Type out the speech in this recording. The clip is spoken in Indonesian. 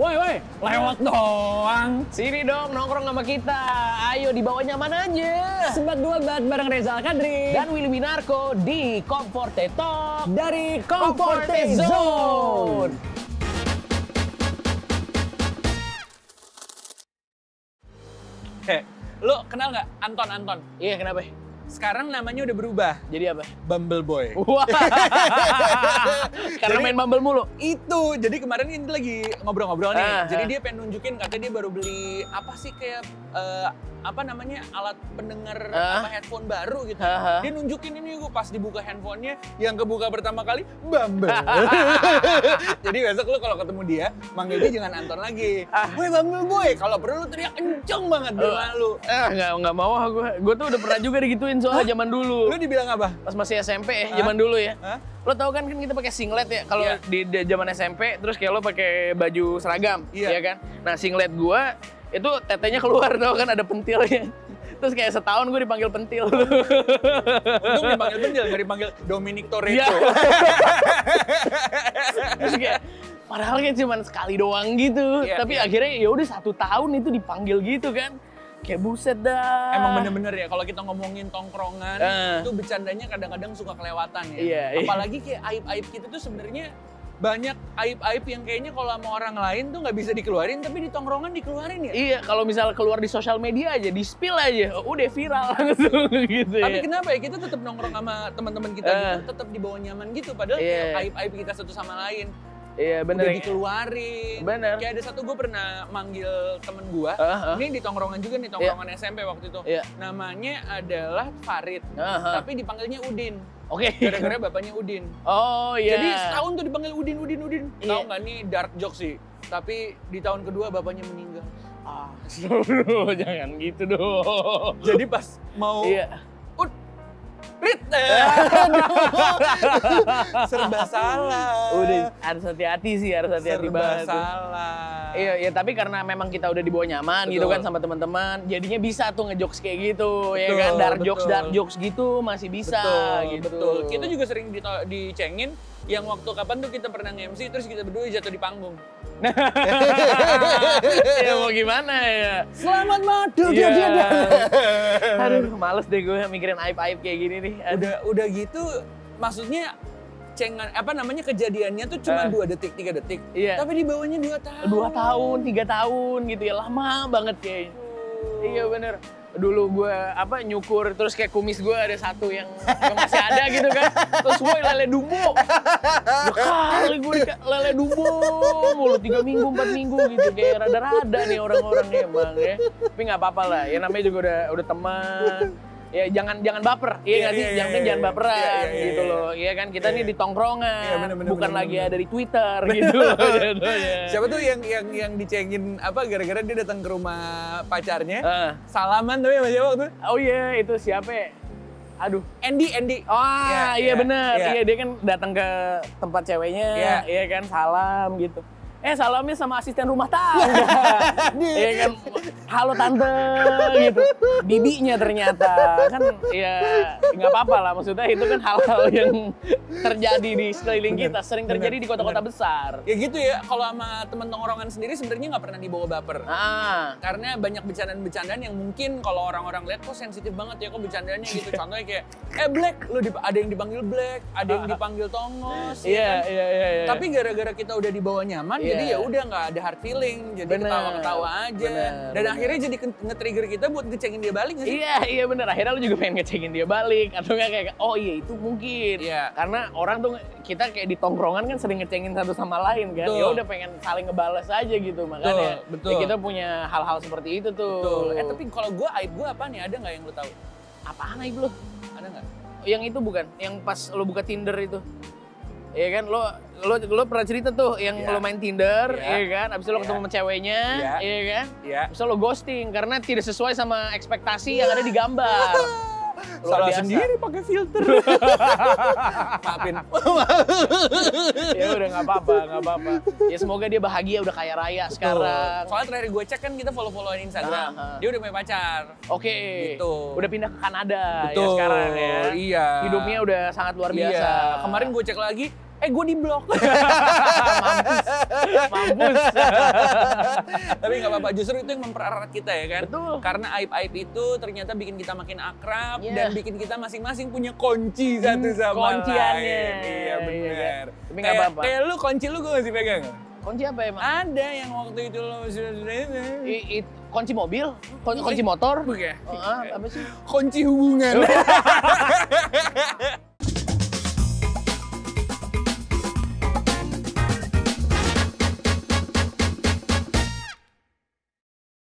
woi lewat doang. Sini dong nongkrong sama kita. Ayo dibawanya mana aja. Sebat dua bat bareng Reza Kadri Dan Willy Winarko di Comforte Talk. dari Comforte Zone. Heh, Eh, lo kenal nggak Anton Anton? Iya kenapa? Sekarang namanya udah berubah. Jadi apa? Bumble Boy. Wah. Karena Jadi- main Bumble mulu. Itu, jadi kemarin ini lagi ngobrol-ngobrol nih. Ah, jadi ah. dia pengen nunjukin katanya dia baru beli apa sih kayak eh, apa namanya alat pendengar Ah. apa headphone baru gitu. Ah, ah. Dia nunjukin ini gue pas dibuka handphonenya yang kebuka pertama kali Bumble. Ah, jadi besok lu kalau ketemu dia manggil dia jangan Anton lagi. Ah. Woi Bumble boy, kalau perlu lu teriak kenceng banget biar malu. Eh nggak nggak mau ah gue. Gue tuh udah pernah juga digituin soalnya zaman dulu. Lu dibilang apa? Pas masih SMP ya, Hah? zaman dulu ya. Hah? Lo tau kan kan kita pakai singlet ya kalau Iya. di di zaman SMP terus kayak lo pakai baju seragam, Iya. ya kan? Nah, singlet gua itu tetenya keluar tau kan ada pentilnya. Terus kayak setahun gue dipanggil pentil. Oh, gitu. Untung dipanggil Bendil, nggak dipanggil Dominic Toretto. Iya. terus kayak padahal kan cuma sekali doang gitu. Iya, Tapi iya. akhirnya ya udah satu tahun itu dipanggil gitu kan. Kayak buset dah. Emang bener-bener ya kalau kita ngomongin tongkrongan Eh. itu bercandanya kadang-kadang suka kelewatan ya. Iya, iya. Apalagi kayak aib-aib kita tuh sebenarnya banyak aib-aib yang kayaknya kalau sama orang lain tuh nggak bisa dikeluarin tapi di tongkrongan dikeluarin ya. Iya, kalau misalnya keluar di sosial media aja, di spill aja, udah viral langsung gitu. Tapi ya. kenapa ya kita tetap nongkrong sama teman-teman kita Eh. gitu, tetap di bawah nyaman gitu padahal Iya, kayak iya. aib-aib kita satu sama lain Iya, udah gitu. bener. ya. dikeluarin. Bener. Kayak ada satu gue pernah manggil temen gue, Ah, ah. ini di tongkrongan juga nih, tongkrongan SMP waktu itu. Iya. Namanya adalah Farid, Ah, ah. tapi dipanggilnya Udin. Oke. Gara-gara bapaknya Udin. Oh iya. Jadi setahun tuh dipanggil Udin, Udin, Udin. Tahu Iya. nggak nih dark joke sih. Tapi di tahun kedua bapaknya meninggal. Ah, Astagfirullah, jangan gitu dong. Jadi pas mau Iya. Ud, Rit, eh, aduh. serba salah. Udah harus hati-hati sih, harus hati-hati serba banget. salah. Iya, iya, tapi karena memang kita udah dibawa nyaman gitu Betul. kan sama teman-teman, jadinya bisa tuh ngejokes kayak gitu, ya Betul, kan? Dark betul. jokes, dark jokes gitu masih bisa betul, gitu. betul. Kita juga sering dito- dicengin yang waktu kapan tuh kita pernah nge-MC terus kita berdua jatuh di panggung. ya mau gimana ya? Selamat madu Iya. dia dia dia. Aduh, males deh gue mikirin aib-aib kayak gini nih. Aduh. udah udah gitu maksudnya cengan apa namanya kejadiannya tuh cuma Eh. dua detik tiga detik Iya. tapi di bawahnya dua tahun dua tahun, tiga tahun gitu ya lama banget kayaknya. Iya bener. Dulu gue apa nyukur terus kayak kumis gue ada satu yang, yang masih ada gitu kan. Terus gue lele dumbo. Dua kali gue dika- lele dumbo mulu tiga minggu empat minggu gitu kayak rada-rada nih orang-orang emang ya. Tapi nggak apa-apa lah. Ya namanya juga udah udah teman. Ya jangan jangan baper, iya nggak Iya, sih? iya, Yang iya, penting jangan iya. baperan Iya, iya, iya, gitu iya. loh. Iya kan kita nih di tongkrongan, Iya, bener, bener, bukan bener, lagi bener. ada di Twitter gitu loh. jadinya. siapa tuh yang yang yang dicengin apa gara-gara dia datang ke rumah pacarnya Ah. salaman ya, tapi sama siapa waktu itu? Oh iya, itu siapa ya? Aduh. Andy Andy Iya, Ah, iya, iya bener. iya. Iya, dia kan datang ke tempat ceweknya, Iya. iya kan salam gitu. Eh, salamnya sama asisten rumah tangga. Iya kan. Halo tante gitu. Bibinya ternyata kan ya nggak apa-apa lah maksudnya itu kan hal-hal yang terjadi di sekeliling kita, sering terjadi di kota-kota besar. ya gitu ya kalau sama temen tongkrongan sendiri sebenarnya nggak pernah dibawa baper Ah. karena banyak bercandaan-bercandaan yang mungkin kalau orang-orang lihat kok sensitif banget ya kok bercandanya gitu contohnya kayak eh black lu dip- ada yang dipanggil black ada yang dipanggil tongos ya Ah, Iya, kan? iya, iya, iya. Tapi gara-gara kita udah dibawa nyaman, Iya. jadi ya udah nggak ada hard feeling, jadi Bener. ketawa-ketawa aja. Bener, Dan bener. akhirnya jadi ke- nge-trigger kita buat ngecengin dia balik nggak sih? Iya, iya bener. Akhirnya lu juga pengen ngecengin dia balik. Atau nggak kayak, oh iya itu mungkin. Iya. Karena orang tuh, kita kayak di tongkrongan kan sering ngecengin satu sama lain kan. Betul. Ya udah pengen saling ngebales aja gitu. Makanya Betul, betul. ya kita punya hal-hal seperti itu tuh. Betul. Eh tapi kalau gue aib gue apa nih? Ada nggak yang lu tahu? Apaan aib lu? Ada nggak? Yang itu bukan? Yang pas lu buka Tinder itu? Iya kan, lo, lo, lo pernah cerita tuh yang Iya. lo main Tinder, Iya. iya kan? Abis itu lo Iya. ketemu sama ceweknya, Iya. iya kan? Iya. Abis itu lo ghosting karena tidak sesuai sama ekspektasi yang Iya. ada di gambar. Salah Luar biasa. sendiri pakai filter. Maafin. ya udah nggak apa-apa nggak apa-apa ya semoga dia bahagia udah kaya raya sekarang Soalnya terakhir gue cek kan kita follow-followan Instagram. Aha. Dia udah punya pacar. oke Gitu. udah pindah ke Kanada ya sekarang ya Iya. hidupnya udah sangat luar biasa Iya. Kemarin gue cek lagi eh gue di blok. mampus, mampus. Tapi nggak apa-apa, justru itu yang mempererat kita ya kan. Betul. Karena aib-aib itu ternyata bikin kita makin akrab Iya. dan bikin kita masing-masing punya kunci satu Hmm, sama kunciannya. lain. Iya Iya, benar. iya. Tapi nggak Kayak- apa-apa. Kayak lu kunci lu gue masih pegang. Kunci apa emang? Ada yang waktu itu lo I, i- kunci mobil, kun- kunci motor. Bukan. Oh, ah, apa sih? kunci hubungan.